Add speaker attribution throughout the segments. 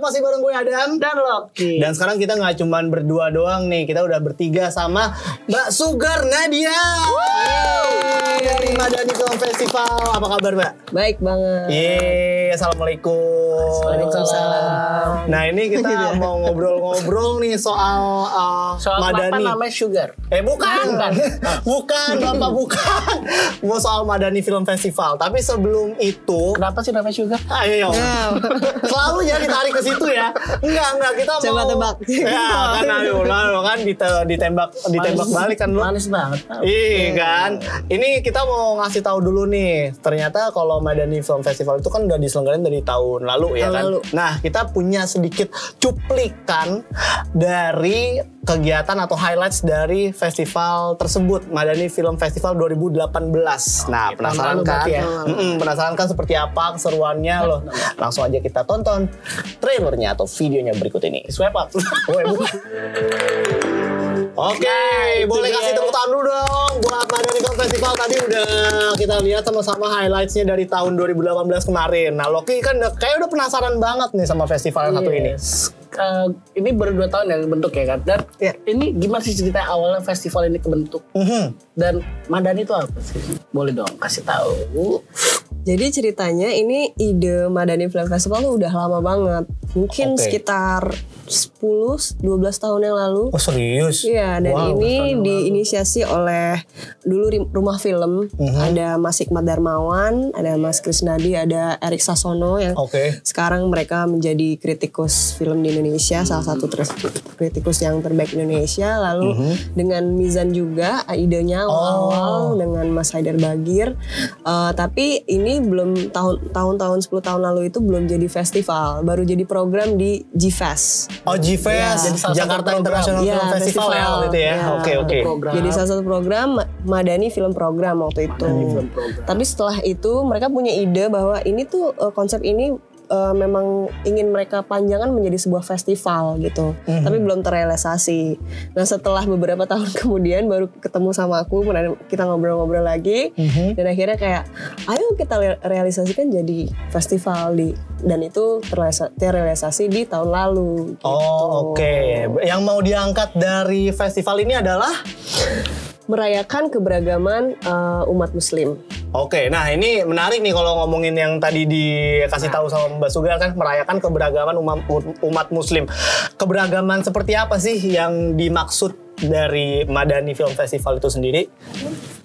Speaker 1: masih bareng gue Adam
Speaker 2: dan Loki.
Speaker 1: Dan sekarang kita nggak cuman berdua doang nih, kita udah bertiga sama Mbak Sugar Nadia. Yeay, Dari Madani Film Festival. Apa kabar, Mbak?
Speaker 3: Baik
Speaker 2: Eh.
Speaker 3: banget.
Speaker 1: Iya. Yeay, Assalamualaikum.
Speaker 3: Waalaikumsalam.
Speaker 1: Nah, ini kita mau ngobrol-ngobrol nih soal, uh,
Speaker 2: Soal
Speaker 1: Madani.
Speaker 2: Madani. namanya Sugar.
Speaker 1: Eh bukan,
Speaker 2: Bukan.
Speaker 1: bukan, bapak bukan. Mau soal Madani Film Festival. Tapi sebelum itu,
Speaker 2: Kenapa sih namanya Sugar?
Speaker 1: Ayo, selalu ya ditarik ke situ ya. Enggak, enggak kita
Speaker 3: Coba
Speaker 1: mau
Speaker 3: tebak.
Speaker 1: Ya kan ayo, lalu kan dite- ditembak ditembak
Speaker 2: Manis-
Speaker 1: balik kan lu.
Speaker 2: Manis banget.
Speaker 1: Iya kan. Ini kita mau ngasih tahu dulu nih. Ternyata kalau Madani Film Festival itu kan udah diselenggarain dari tahun lalu ya
Speaker 3: Tahun
Speaker 1: kan.
Speaker 3: lalu.
Speaker 1: Nah, kita punya sedikit cuplikan dari kegiatan atau highlights dari festival tersebut, Madani Film Festival 2018. Nah, penasaran
Speaker 2: lalu
Speaker 1: kan?
Speaker 2: berarti ya.
Speaker 1: Mm-mm, penasaran kan seperti apa keseruannya loh? Langsung aja kita tonton trailernya atau videonya berikut ini.
Speaker 2: Swipe up.
Speaker 1: Oh, ya, bukan. Oke, boleh
Speaker 2: dia.
Speaker 1: kasih tepuk tangan dulu dong buat Madani Film Festival tadi udah kita lihat sama-sama highlightsnya dari tahun 2018 kemarin. Nah, Loki kan udah, kayak udah penasaran banget nih sama festival yang satu ini.
Speaker 2: Yes. Eh, ini baru dua tahun yang bentuk ya kan. Dan
Speaker 1: Iya.
Speaker 2: ini gimana sih cerita awalnya festival ini kebentuk?
Speaker 1: Mhm.
Speaker 2: Dan Madani itu apa sih? Boleh dong kasih tahu.
Speaker 3: Jadi ceritanya ini ide Madani Film Festival tuh udah lama banget. Mungkin
Speaker 1: Oke.
Speaker 3: sekitar 10 12 tahun yang lalu.
Speaker 1: Oh serius?
Speaker 3: Iya, dan
Speaker 1: Wow.
Speaker 3: ini diinisiasi oleh dulu ri- rumah film
Speaker 1: Mhm.
Speaker 3: ada Mas Hikmat Darmawan, ada Mas Krisnadi, ada Erik Sasono yang
Speaker 1: Oke.
Speaker 3: sekarang mereka menjadi kritikus film di Indonesia, salah satu ter- kritikus yang terbaik di Indonesia. Lalu
Speaker 1: Mhm.
Speaker 3: dengan Mizan juga
Speaker 1: Oh.
Speaker 3: idenya awal-awal dengan Mas Haidar Bagir. Eh, tapi ini belum tahun tahun-tahun 10 tahun lalu itu belum jadi festival, baru jadi program di G-Fest.
Speaker 1: Oh, G-Fest,
Speaker 2: Jadi salah satu
Speaker 1: Jakarta
Speaker 2: program.
Speaker 1: International
Speaker 3: Iya,
Speaker 1: Film Festival, ya
Speaker 3: festival.
Speaker 1: waktu itu ya.
Speaker 3: Iya,
Speaker 1: Oke,
Speaker 3: ada
Speaker 1: oke.
Speaker 2: Program.
Speaker 3: Jadi salah satu program Ma- Madani Film Program waktu itu.
Speaker 2: Madani Film Program.
Speaker 3: Tapi setelah itu mereka punya ide bahwa ini tuh eh, konsep ini eh, memang ingin mereka panjangan menjadi sebuah festival gitu.
Speaker 2: Hmm.
Speaker 3: Tapi belum terrealisasi. Nah, setelah beberapa tahun kemudian baru ketemu sama aku, kemudian kita ngobrol-ngobrol lagi
Speaker 2: Hmm.
Speaker 3: dan akhirnya kayak ayo kita le- realisasikan jadi festival di dan itu terrealisa- terrealisasi di tahun lalu gitu.
Speaker 1: Oh, oke. Yang mau diangkat dari festival ini adalah
Speaker 3: merayakan keberagaman eh, umat muslim.
Speaker 1: Oke, nah ini menarik nih kalau ngomongin yang tadi dikasih
Speaker 2: Nah.
Speaker 1: tahu sama Mbak Sugar kan merayakan keberagaman umat, umat muslim. Keberagaman seperti apa sih yang dimaksud dari Madani Film Festival itu sendiri?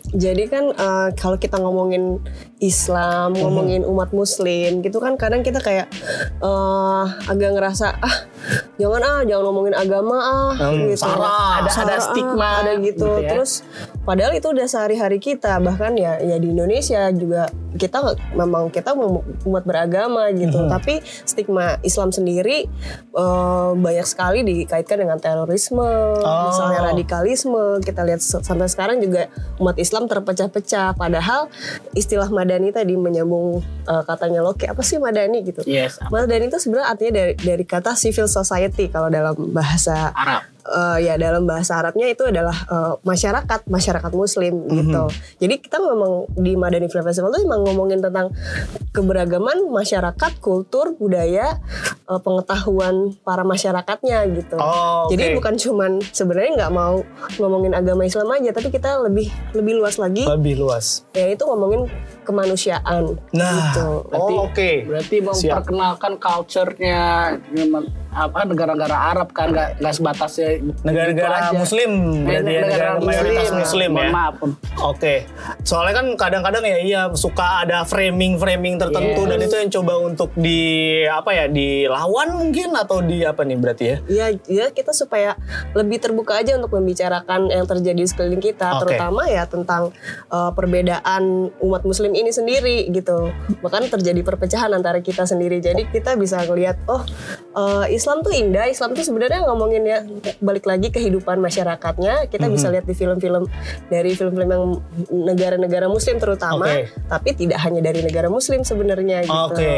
Speaker 3: Jadi kan eh, kalau kita ngomongin Islam,
Speaker 1: Mhm.
Speaker 3: ngomongin umat Muslim, gitu kan kadang kita kayak eh, agak ngerasa ah jangan ah jangan ngomongin agama ah
Speaker 1: Hmm,
Speaker 3: gitu.
Speaker 1: salah.
Speaker 2: Ada- ada
Speaker 3: ah,
Speaker 2: stigma,
Speaker 3: ada gitu.
Speaker 2: gitu ya.
Speaker 3: Terus padahal itu udah sehari-hari kita bahkan ya ya di Indonesia juga kita nggak- memang kita um- umat beragama gitu.
Speaker 1: Mhm.
Speaker 3: Tapi stigma Islam sendiri eh, banyak sekali dikaitkan dengan terorisme,
Speaker 1: Oh.
Speaker 3: misalnya radikal radikalisme kita lihat se- sampai sekarang juga umat Islam terpecah-pecah padahal istilah madani tadi menyambung eh, katanya Loki apa sih madani gitu
Speaker 2: Yes.
Speaker 3: madani itu sebenarnya artinya dari, dari kata civil society kalau dalam bahasa
Speaker 2: Arab.
Speaker 3: eh, ya dalam bahasa Arabnya itu adalah eh, masyarakat masyarakat Muslim gitu. Jadi kita memang di Madani Film Festival itu memang ngomongin tentang keberagaman masyarakat, kultur, budaya, eh, pengetahuan para masyarakatnya gitu.
Speaker 1: Oh, oke.
Speaker 3: Jadi bukan cuman sebenarnya nggak mau ngomongin agama Islam aja, tapi kita lebih lebih luas lagi
Speaker 1: Lebih luas.
Speaker 3: yaitu ngomongin kemanusiaan
Speaker 1: Nah,
Speaker 3: gitu.
Speaker 1: oh, oke.
Speaker 2: Berarti
Speaker 1: Siap.
Speaker 2: memperkenalkan culture-nya memang, apa negara-negara Arab kan nggak nggak sebatasnya
Speaker 1: Negara-negara
Speaker 2: itu gitu aja.
Speaker 1: Muslim,
Speaker 2: Eh,
Speaker 1: berarti ya, negara mayoritas Muslim
Speaker 2: Mohon
Speaker 1: ya.
Speaker 2: Maaf.
Speaker 1: Oke, soalnya kan kadang-kadang ya iya suka ada framing-framing tertentu
Speaker 2: Yes.
Speaker 1: dan itu yang coba untuk di apa ya dilawan mungkin atau di apa nih berarti ya?
Speaker 3: Ya, ya kita supaya lebih terbuka aja untuk membicarakan yang terjadi di sekeliling kita,
Speaker 1: Oke.
Speaker 3: terutama ya tentang uh, perbedaan umat Muslim ini sendiri gitu. Bahkan terjadi perpecahan antara kita sendiri. Jadi kita bisa ngelihat, oh uh, Islam tuh indah. Islam tuh sebenarnya ngomongin ya balik lagi kehidupan masyarakatnya.
Speaker 1: Mm-hmm.
Speaker 3: Kita bisa lihat di film-film dari film-film yang negara-negara Muslim terutama,
Speaker 1: Oke.
Speaker 3: tapi tidak hanya dari negara Muslim sebenarnya gitu. Hmm.
Speaker 1: Oke,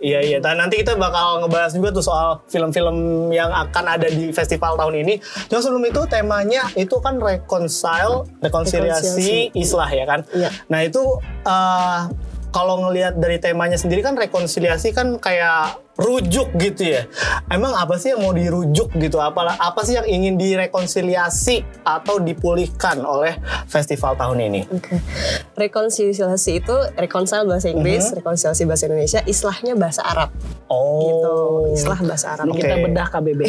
Speaker 1: iya iya. Dan nanti kita bakal ngebahas juga tuh soal film-film yang akan ada di festival tahun ini. Cuma sebelum itu temanya itu kan reconcile, rekonsiliasi,
Speaker 3: Rekonsiliasi.
Speaker 1: islah ya kan.
Speaker 3: Iya.
Speaker 1: Nah itu eh, kalau ngelihat dari temanya sendiri kan rekonsiliasi kan kayak rujuk gitu ya. Emang apa sih yang mau dirujuk gitu? Apalah apa sih yang ingin direkonsiliasi atau dipulihkan oleh festival tahun ini?
Speaker 3: Oke. Rekonsiliasi itu reconcile bahasa Inggris, rekonsiliasi bahasa Indonesia, islahnya bahasa Arab gitu.
Speaker 1: Mhm. Oh,
Speaker 3: Islah bahasa Arab.
Speaker 2: Ini kita
Speaker 1: Oke.
Speaker 2: bedah KBB.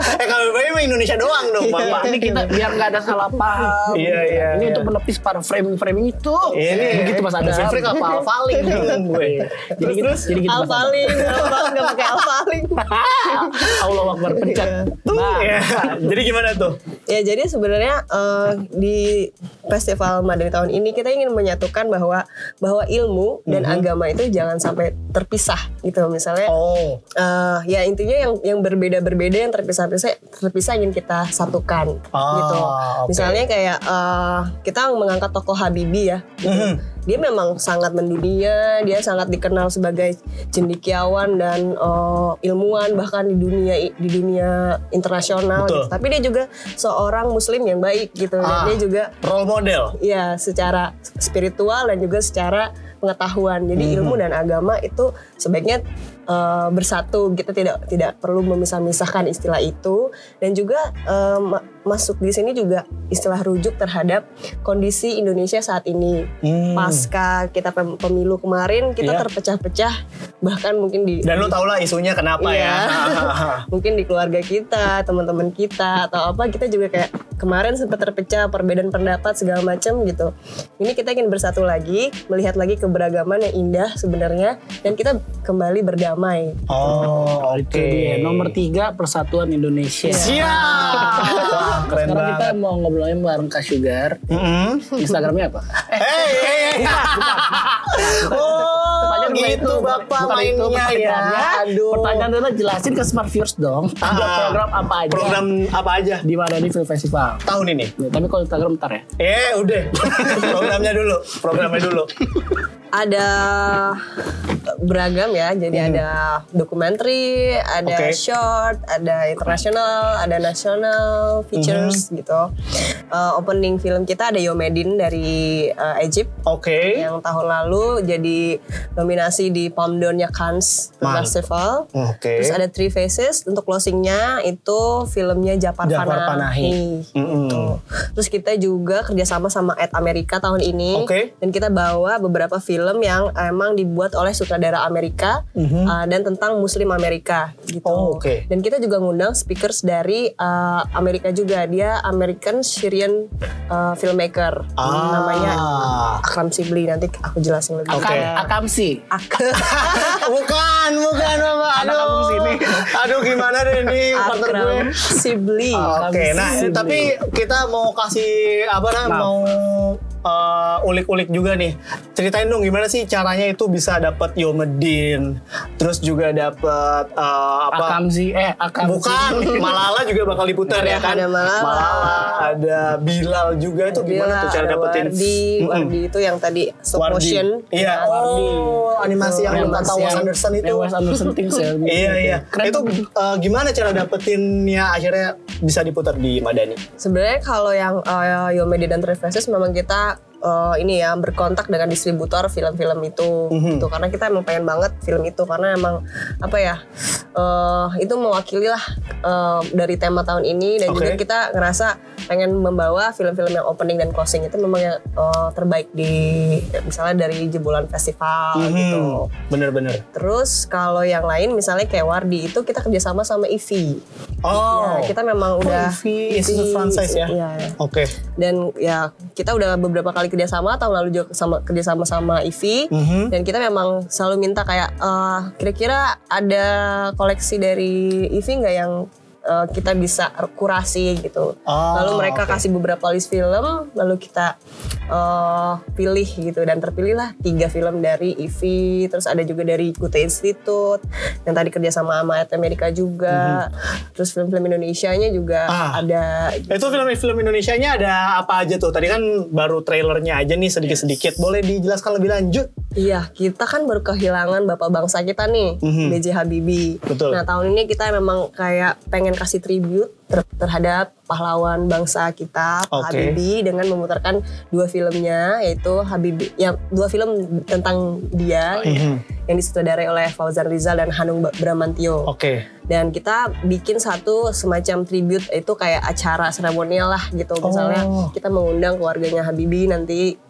Speaker 1: eh kalau berbagi mah Indonesia doang dong, gitu. Bapak.
Speaker 2: Ini kita biar nggak ada salah paham.
Speaker 1: Iya, iya,
Speaker 2: Ini
Speaker 1: iya.
Speaker 2: untuk menepis para framing-framing itu. Iya, begitu Mas Adam.
Speaker 1: Fitri Iya. apa paling bingung gue.
Speaker 2: Jadi gitu, jadi gitu Mas Adam.
Speaker 3: Alfaling, nggak pakai alfaling.
Speaker 2: Allah Akbar pencet. Nah,
Speaker 1: Ya, jadi gimana tuh?
Speaker 3: Ya jadi sebenarnya eh, di festival Madani tahun ini kita ingin menyatukan bahwa bahwa ilmu dan agama itu jangan sampai terpisah gitu misalnya.
Speaker 1: Mhm. Oh,
Speaker 3: eh, ya intinya yang yang berbeda berbeda yang terpisah pisah terpisah ingin kita satukan
Speaker 1: Ah,
Speaker 3: gitu.
Speaker 1: oke.
Speaker 3: Misalnya kayak eh, kita mengangkat tokoh Habibie ya. gitu.
Speaker 1: Mhm.
Speaker 3: Dia memang sangat mendunia, dia sangat dikenal sebagai cendekiawan dan eh, ilmuwan bahkan di dunia di dunia internasional.
Speaker 1: Betul.
Speaker 3: gitu. Tapi dia juga seorang Muslim yang baik gitu
Speaker 1: Ah.
Speaker 3: dan dia juga
Speaker 1: role model.
Speaker 3: ya secara spiritual dan juga secara pengetahuan. Jadi
Speaker 1: Hmm.
Speaker 3: ilmu dan agama itu sebaiknya eh, bersatu. Kita tidak tidak perlu memisah-misahkan istilah itu dan juga eh, ma- masuk di sini juga istilah rujuk terhadap kondisi Indonesia saat ini.
Speaker 1: Hmm.
Speaker 3: Pasca kita pem- pemilu kemarin kita
Speaker 1: Iya. Nah.
Speaker 3: terpecah-pecah bahkan mungkin di
Speaker 1: Dan lu tau lah isunya kenapa
Speaker 3: Iya.
Speaker 1: ya.
Speaker 3: mungkin di keluarga kita, teman-teman kita atau apa kita juga kayak kemarin sempat terpecah perbedaan pendapat segala macam gitu. Ini kita ingin bersatu lagi, melihat lagi keberagaman yang indah sebenarnya dan kita kembali berdamai.
Speaker 1: Oh, oke.
Speaker 2: Itu dia. Nomor tiga Persatuan Indonesia.
Speaker 1: Siap. Wah, Iya. keren
Speaker 2: Sekarang kita
Speaker 1: banget.
Speaker 2: mau ngobrolin bareng Kak Sugar.
Speaker 1: Mm-mm.
Speaker 2: Instagramnya apa?
Speaker 1: Hey,
Speaker 2: eh,
Speaker 1: hey, hey. Oh,
Speaker 2: Pertanyaan bukan
Speaker 1: gitu
Speaker 2: itu,
Speaker 1: bapak
Speaker 2: bukan itu
Speaker 1: mainnya ya.
Speaker 2: pertanyaannya.
Speaker 1: Aduh.
Speaker 2: Pertanyaan adalah jelasin ke Smart Viewers dong. Ada
Speaker 1: Ah.
Speaker 2: program apa aja?
Speaker 1: Program apa aja
Speaker 2: di mana nih film festival?
Speaker 1: tahun ini?
Speaker 2: Ya, tapi kalau Instagram ntar ya.
Speaker 1: Eh, udah. Programnya dulu. Programnya dulu.
Speaker 3: Ada beragam ya, jadi ada dokumenter, ada
Speaker 1: Hmm. Oke.
Speaker 3: short, ada internasional, ada nasional
Speaker 1: Hmm.
Speaker 3: features gitu. Uh, opening film kita ada Yomedin dari uh, Egypt.
Speaker 1: Oke.
Speaker 3: yang tahun lalu jadi nominasi di Palm Down-nya Cannes Film
Speaker 1: Mantap.
Speaker 3: Festival.
Speaker 1: Oke.
Speaker 3: Terus ada Three Faces untuk closingnya itu filmnya Japar,
Speaker 1: Jafar Panahi. Mm-mm.
Speaker 3: gitu.
Speaker 1: Hmm.
Speaker 3: Terus kita juga kerjasama sama Ed Amerika tahun ini
Speaker 1: Oke.
Speaker 3: dan kita bawa beberapa film yang emang dibuat oleh sutradara Amerika uh, dan tentang Muslim Amerika gitu.
Speaker 1: Mhm. Oh, oke.
Speaker 3: Dan kita juga ngundang speakers dari uh, Amerika juga. Dia American Syrian uh, filmmaker
Speaker 1: Ah.
Speaker 3: namanya Akram Sibli nanti aku jelasin lebih.
Speaker 2: Akam,
Speaker 1: Oke.
Speaker 2: Kan, Akamsi.
Speaker 1: bukan, bukan bapak.
Speaker 2: Anak
Speaker 1: Aduh.
Speaker 2: kampung sini.
Speaker 1: Aduh, gimana deh ini partner gue.
Speaker 3: Akram Sibli.
Speaker 1: Oke, nah
Speaker 2: Sibli.
Speaker 1: tapi kita mau kasih apa nah,
Speaker 2: Maaf.
Speaker 1: mau eh, ulik-ulik juga nih. Ceritain dong gimana sih caranya itu bisa dapat Yomedin, terus juga dapat eh, apa?
Speaker 2: Akamsi. Eh, Akamsi.
Speaker 1: Bukan, Malala juga bakal diputar ya kan?
Speaker 3: Iya, Ada Malala.
Speaker 1: ada Bilal juga itu gimana tuh cara
Speaker 3: ada
Speaker 1: dapetin?
Speaker 3: Wardi,
Speaker 1: Mm-mm.
Speaker 3: Wardi itu yang tadi stop
Speaker 1: Wardi.
Speaker 3: motion.
Speaker 1: Iya,
Speaker 3: Ya, Wardi.
Speaker 1: oh, animasi yang
Speaker 3: Animasi
Speaker 1: kata Wes
Speaker 3: yang-
Speaker 1: Anderson itu.
Speaker 2: Eh, Wes Anderson Things ya.
Speaker 1: Iya iya.
Speaker 2: Keren
Speaker 1: itu
Speaker 2: tuh.
Speaker 1: eh, gimana cara dapetinnya akhirnya bisa diputar di Madani?
Speaker 3: Sebenarnya kalau yang uh, Yomedi dan Three Faces memang kita uh, ini ya berkontak dengan distributor film-film itu
Speaker 1: Mhm.
Speaker 3: gitu. karena kita emang pengen banget film itu karena emang apa ya uh, itu mewakili lah uh, dari tema tahun ini dan
Speaker 1: Oke.
Speaker 3: juga kita ngerasa pengen membawa film-film yang opening dan closing itu memang yang uh, terbaik di misalnya dari jebolan festival gitu.
Speaker 1: Hmm, Bener-bener.
Speaker 3: Terus kalau yang lain misalnya kayak Wardi itu kita kerjasama sama IVI.
Speaker 1: Oh.
Speaker 3: Ya, kita memang udah
Speaker 1: Ivy, Institut Franchise ya?
Speaker 3: Iya.
Speaker 1: Oke.
Speaker 3: Dan ya kita udah beberapa kali kerjasama tahun lalu juga sama kerjasama sama IVI
Speaker 1: Mhm.
Speaker 3: dan kita memang selalu minta kayak eh, kira-kira ada koleksi dari IVI nggak yang eh, kita bisa kurasi gitu.
Speaker 1: Oh,
Speaker 3: lalu mereka
Speaker 1: oke.
Speaker 3: kasih beberapa list film lalu kita eh, pilih gitu dan terpilihlah tiga film dari IVI terus ada juga dari Kuta Institute yang tadi kerjasama sama Ed Amerika juga terus film-film Indonesianya juga
Speaker 1: Mm-hmm. Ah.
Speaker 3: ada gitu.
Speaker 1: Itu film-film Indonesia-nya ada apa aja tuh? Tadi kan baru trailernya aja nih sedikit-sedikit. Boleh dijelaskan lebih lanjut?
Speaker 3: Iya, kita kan baru kehilangan bapak bangsa kita nih,
Speaker 1: Mhm.
Speaker 3: B.J. Habibie.
Speaker 1: Betul.
Speaker 3: Nah, tahun ini kita memang kayak pengen kasih tribute ter- terhadap pahlawan bangsa kita, Pak
Speaker 1: Oke.
Speaker 3: Habibie dengan memutarkan dua filmnya yaitu Habibie ya dua film tentang dia
Speaker 1: Mhm.
Speaker 3: yang disutradarai oleh Fauzan Rizal dan Hanung Ba- Bramantio.
Speaker 1: Oke.
Speaker 3: Dan kita bikin satu semacam tribute itu kayak acara seremonial lah gitu. Misalnya
Speaker 1: Oh.
Speaker 3: kita mengundang keluarganya Habibie nanti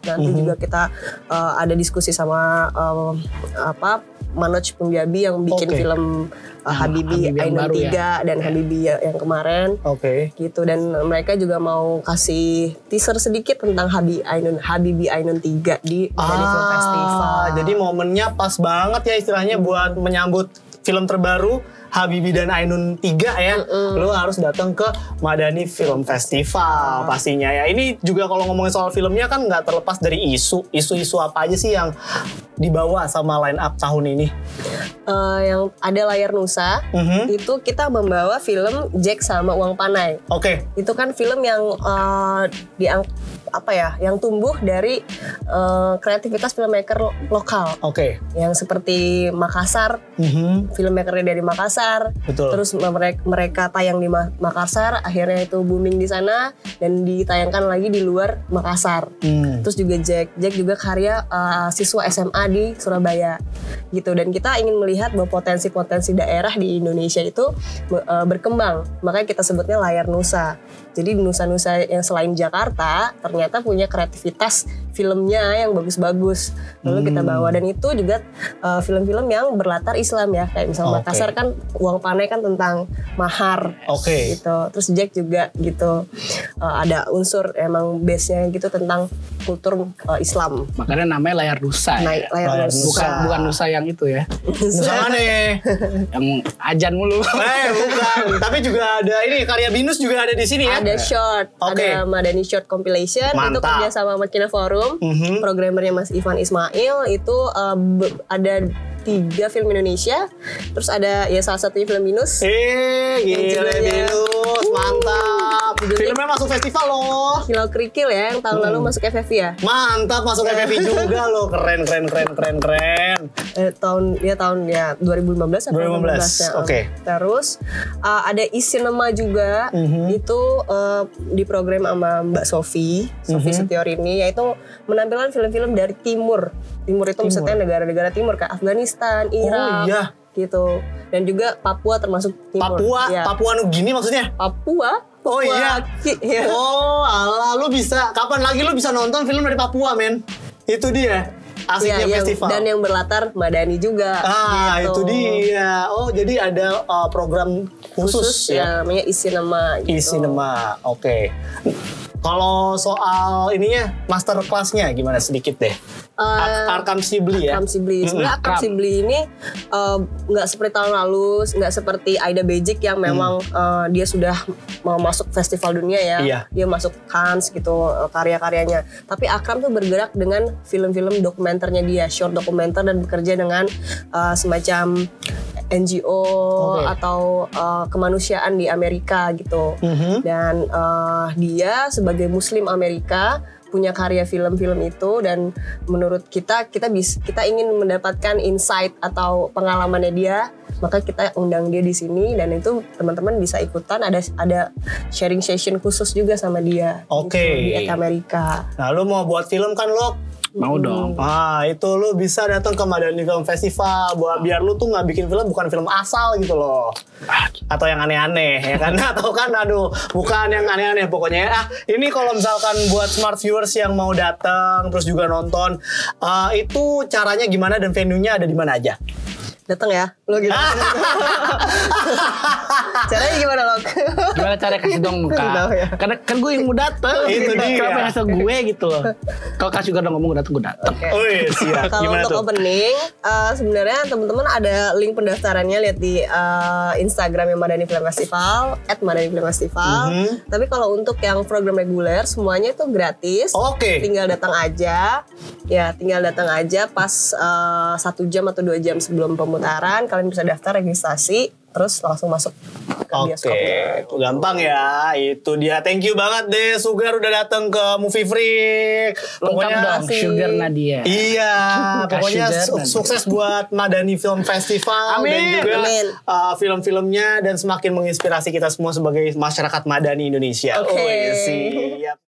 Speaker 3: nanti
Speaker 2: Mm-hmm.
Speaker 1: Mhm.
Speaker 3: juga kita eh, ada diskusi sama eh, apa Manoj Punjabi yang bikin
Speaker 1: Oke.
Speaker 3: film eh,
Speaker 2: Ah,
Speaker 3: Habibie
Speaker 2: Habibie yang
Speaker 3: Ainun
Speaker 2: baru ya.
Speaker 3: 3 dan Habibie ya- yang kemarin
Speaker 1: Oke.
Speaker 3: gitu dan mereka juga mau kasih teaser sedikit tentang Habi Ainun Habibi Ainun 3 di Bali Film Festival.
Speaker 1: Ah, jadi momennya pas banget ya istilahnya buat menyambut film terbaru Habibie dan Ainun 3 ya. Lu harus datang ke Madani Film
Speaker 3: Ah.
Speaker 1: Festival pastinya ya. Ini juga kalau ngomongin soal filmnya kan nggak terlepas dari isu. Isu-isu apa aja sih yang dibawa sama line up tahun ini?
Speaker 3: Eh, yang ada layar Nusa
Speaker 1: Mhm.
Speaker 3: itu kita membawa film Jack sama Uang Panai.
Speaker 1: Oke.
Speaker 3: Itu kan film yang eh, diang apa ya, yang tumbuh dari eh, kreativitas filmmaker lo- lokal
Speaker 1: Oke.
Speaker 3: yang seperti Makassar,
Speaker 1: Mhm,
Speaker 3: filmmakernya dari Makassar,
Speaker 1: Betul.
Speaker 3: Terus mereka, mereka tayang di Ma- Makassar, akhirnya itu booming di sana dan ditayangkan lagi di luar Makassar.
Speaker 1: Hmm.
Speaker 3: Terus juga Jack, Jack juga karya eh, siswa SMA di Surabaya gitu. Dan kita ingin melihat bahwa potensi-potensi daerah di Indonesia itu eh, berkembang. Makanya kita sebutnya layar Nusa. Jadi Nusa-Nusa yang selain Jakarta ternyata punya kreativitas filmnya yang bagus-bagus. Lalu
Speaker 1: Hmm.
Speaker 3: kita bawa dan itu juga eh, film-film yang berlatar Islam ya. Kayak misalnya
Speaker 1: Oh, Oke.
Speaker 3: Makassar kan uang panai kan tentang mahar
Speaker 1: Oke.
Speaker 3: gitu terus Jack juga gitu Eh, ada unsur emang base nya gitu tentang kultur eh, Islam
Speaker 2: Makanya namanya layar rusa.
Speaker 3: naik
Speaker 2: Ya.
Speaker 3: layar
Speaker 1: Layar
Speaker 3: Nusa.
Speaker 2: Bukan bukan rusa yang itu ya,
Speaker 1: Nusa Mane.
Speaker 2: yang ajan mulu.
Speaker 1: Eh, bukan. Tapi juga ada ini karya Binus juga ada di sini ya.
Speaker 3: ada short
Speaker 1: Oke.
Speaker 3: ada Madani short compilation itu
Speaker 1: Mantap.
Speaker 3: kerja sama Makina Forum
Speaker 1: Mhm.
Speaker 3: programmernya Mas Ivan Ismail itu eh, be- ada tiga film Indonesia terus ada ya salah satunya film Minus
Speaker 1: Eh, gile
Speaker 3: judulnya-
Speaker 1: Binus, mantap.
Speaker 3: Judulnya-
Speaker 1: Filmnya masuk festival loh.
Speaker 3: Kilau Kerikil ya yang tahun
Speaker 1: Hmm.
Speaker 3: lalu masuk FFV ya
Speaker 1: Mantap masuk FFI juga loh. Keren keren keren keren keren.
Speaker 3: Eh, tahun ya tahun ya 2015 atau
Speaker 1: 2015,
Speaker 3: 2015 ya.
Speaker 1: oke. Mhm.
Speaker 3: Terus uh, ada e-cinema juga itu uh, di program sama Mbak Sofi, Sofi
Speaker 1: Mhm.
Speaker 3: Setiorini yaitu menampilkan film-film dari timur. Timur itu maksudnya negara-negara timur kayak Afghanistan, Irak
Speaker 1: iya.
Speaker 3: gitu. Dan juga Papua termasuk timur.
Speaker 1: Papua,
Speaker 3: Ya.
Speaker 1: Papua Nugini maksudnya.
Speaker 3: Papua.
Speaker 1: Oh,
Speaker 3: Papua
Speaker 1: iya.
Speaker 3: Ki- ya.
Speaker 1: Oh, ala lu bisa kapan lagi lu bisa nonton film dari Papua, men? Itu dia. Asiknya
Speaker 3: Ya, yang-
Speaker 1: festival.
Speaker 3: dan yang berlatar Madani juga.
Speaker 1: ah,
Speaker 3: gitu.
Speaker 1: itu dia. Oh, jadi ada uh, program khusus, iya. ya.
Speaker 3: khusus ya, namanya e-cinema gitu.
Speaker 1: E-cinema. Oke. Kalau soal ininya master class-nya gimana sedikit deh.
Speaker 3: Eh,
Speaker 1: Ar- Arkham Sibli ya.
Speaker 3: Akram Sibli. Sebenarnya Akram
Speaker 2: Akram.
Speaker 3: Sibli ini eh, nggak seperti tahun lalu, nggak seperti Aida Bejik yang
Speaker 1: Mm.
Speaker 3: memang eh, dia sudah mau masuk festival dunia ya.
Speaker 1: Iya.
Speaker 3: Dia masuk Cannes gitu eh, karya-karyanya. Tapi Akram tuh bergerak dengan film-film dokumenternya dia, short dokumenter dan bekerja dengan eh, semacam NGO
Speaker 1: Oke.
Speaker 3: atau eh, kemanusiaan di Amerika gitu.
Speaker 1: Mhm.
Speaker 3: Dan eh, dia sebagai Muslim Amerika punya karya film-film itu dan menurut kita kita bis, kita ingin mendapatkan insight atau pengalamannya dia maka kita undang dia di sini dan itu teman-teman bisa ikutan ada ada sharing session khusus juga sama dia
Speaker 1: Oke.
Speaker 3: gitu, di Ek Amerika
Speaker 1: Nah, lu mau buat film kan lo?
Speaker 2: Mau dong.
Speaker 1: Ah, itu lu bisa datang ke Madani Film Festival buat biar lu tuh nggak bikin film bukan film asal gitu loh.
Speaker 2: Ah,
Speaker 1: Atau yang aneh-aneh ya kan? Atau kan aduh, bukan yang aneh-aneh pokoknya. Ah, ini kalau misalkan buat smart viewers yang mau datang terus juga nonton, ah, itu caranya gimana dan venue-nya ada di mana aja?
Speaker 3: datang ya lo gitu caranya gimana lo
Speaker 2: Gimana cara kasih dong muka?
Speaker 3: Tahu ya.
Speaker 2: Karena kan gue yang mau dateng.
Speaker 1: Itu dia.
Speaker 2: Kenapa yang ngasih gue gitu loh? Kalau kasih gue udah ngomong gue dateng, gue dateng.
Speaker 1: Wih, siap.
Speaker 3: Kalau
Speaker 1: Iya, Gimana
Speaker 3: untuk
Speaker 1: tuh?
Speaker 3: opening, eh, sebenarnya teman-teman ada link pendaftarannya lihat di eh, Instagramnya Madani Film Festival @madanifilmfestival.
Speaker 1: Mhm.
Speaker 3: Tapi kalau untuk yang program reguler semuanya itu gratis.
Speaker 1: Oke.
Speaker 3: Tinggal datang aja, ya tinggal datang aja pas eh, satu jam atau dua jam sebelum pemutaran kalian bisa daftar registrasi terus langsung masuk ke
Speaker 1: Oke,
Speaker 3: bioskopnya.
Speaker 1: gampang ya. Itu dia. Thank you banget deh Sugar udah datang ke Movie Freak.
Speaker 2: Lengkap
Speaker 1: Pokoknya
Speaker 2: dong,
Speaker 3: kasih.
Speaker 2: Sugar Nadia.
Speaker 1: Iya,
Speaker 2: Kasih
Speaker 1: pokoknya
Speaker 2: dan
Speaker 1: su-
Speaker 2: nanti.
Speaker 1: sukses buat Madani Film Festival dan
Speaker 2: Amin.
Speaker 1: juga
Speaker 3: Amin.
Speaker 1: uh, film-filmnya dan semakin menginspirasi kita semua sebagai masyarakat Madani Indonesia.
Speaker 3: Oke.
Speaker 1: Oh, siap.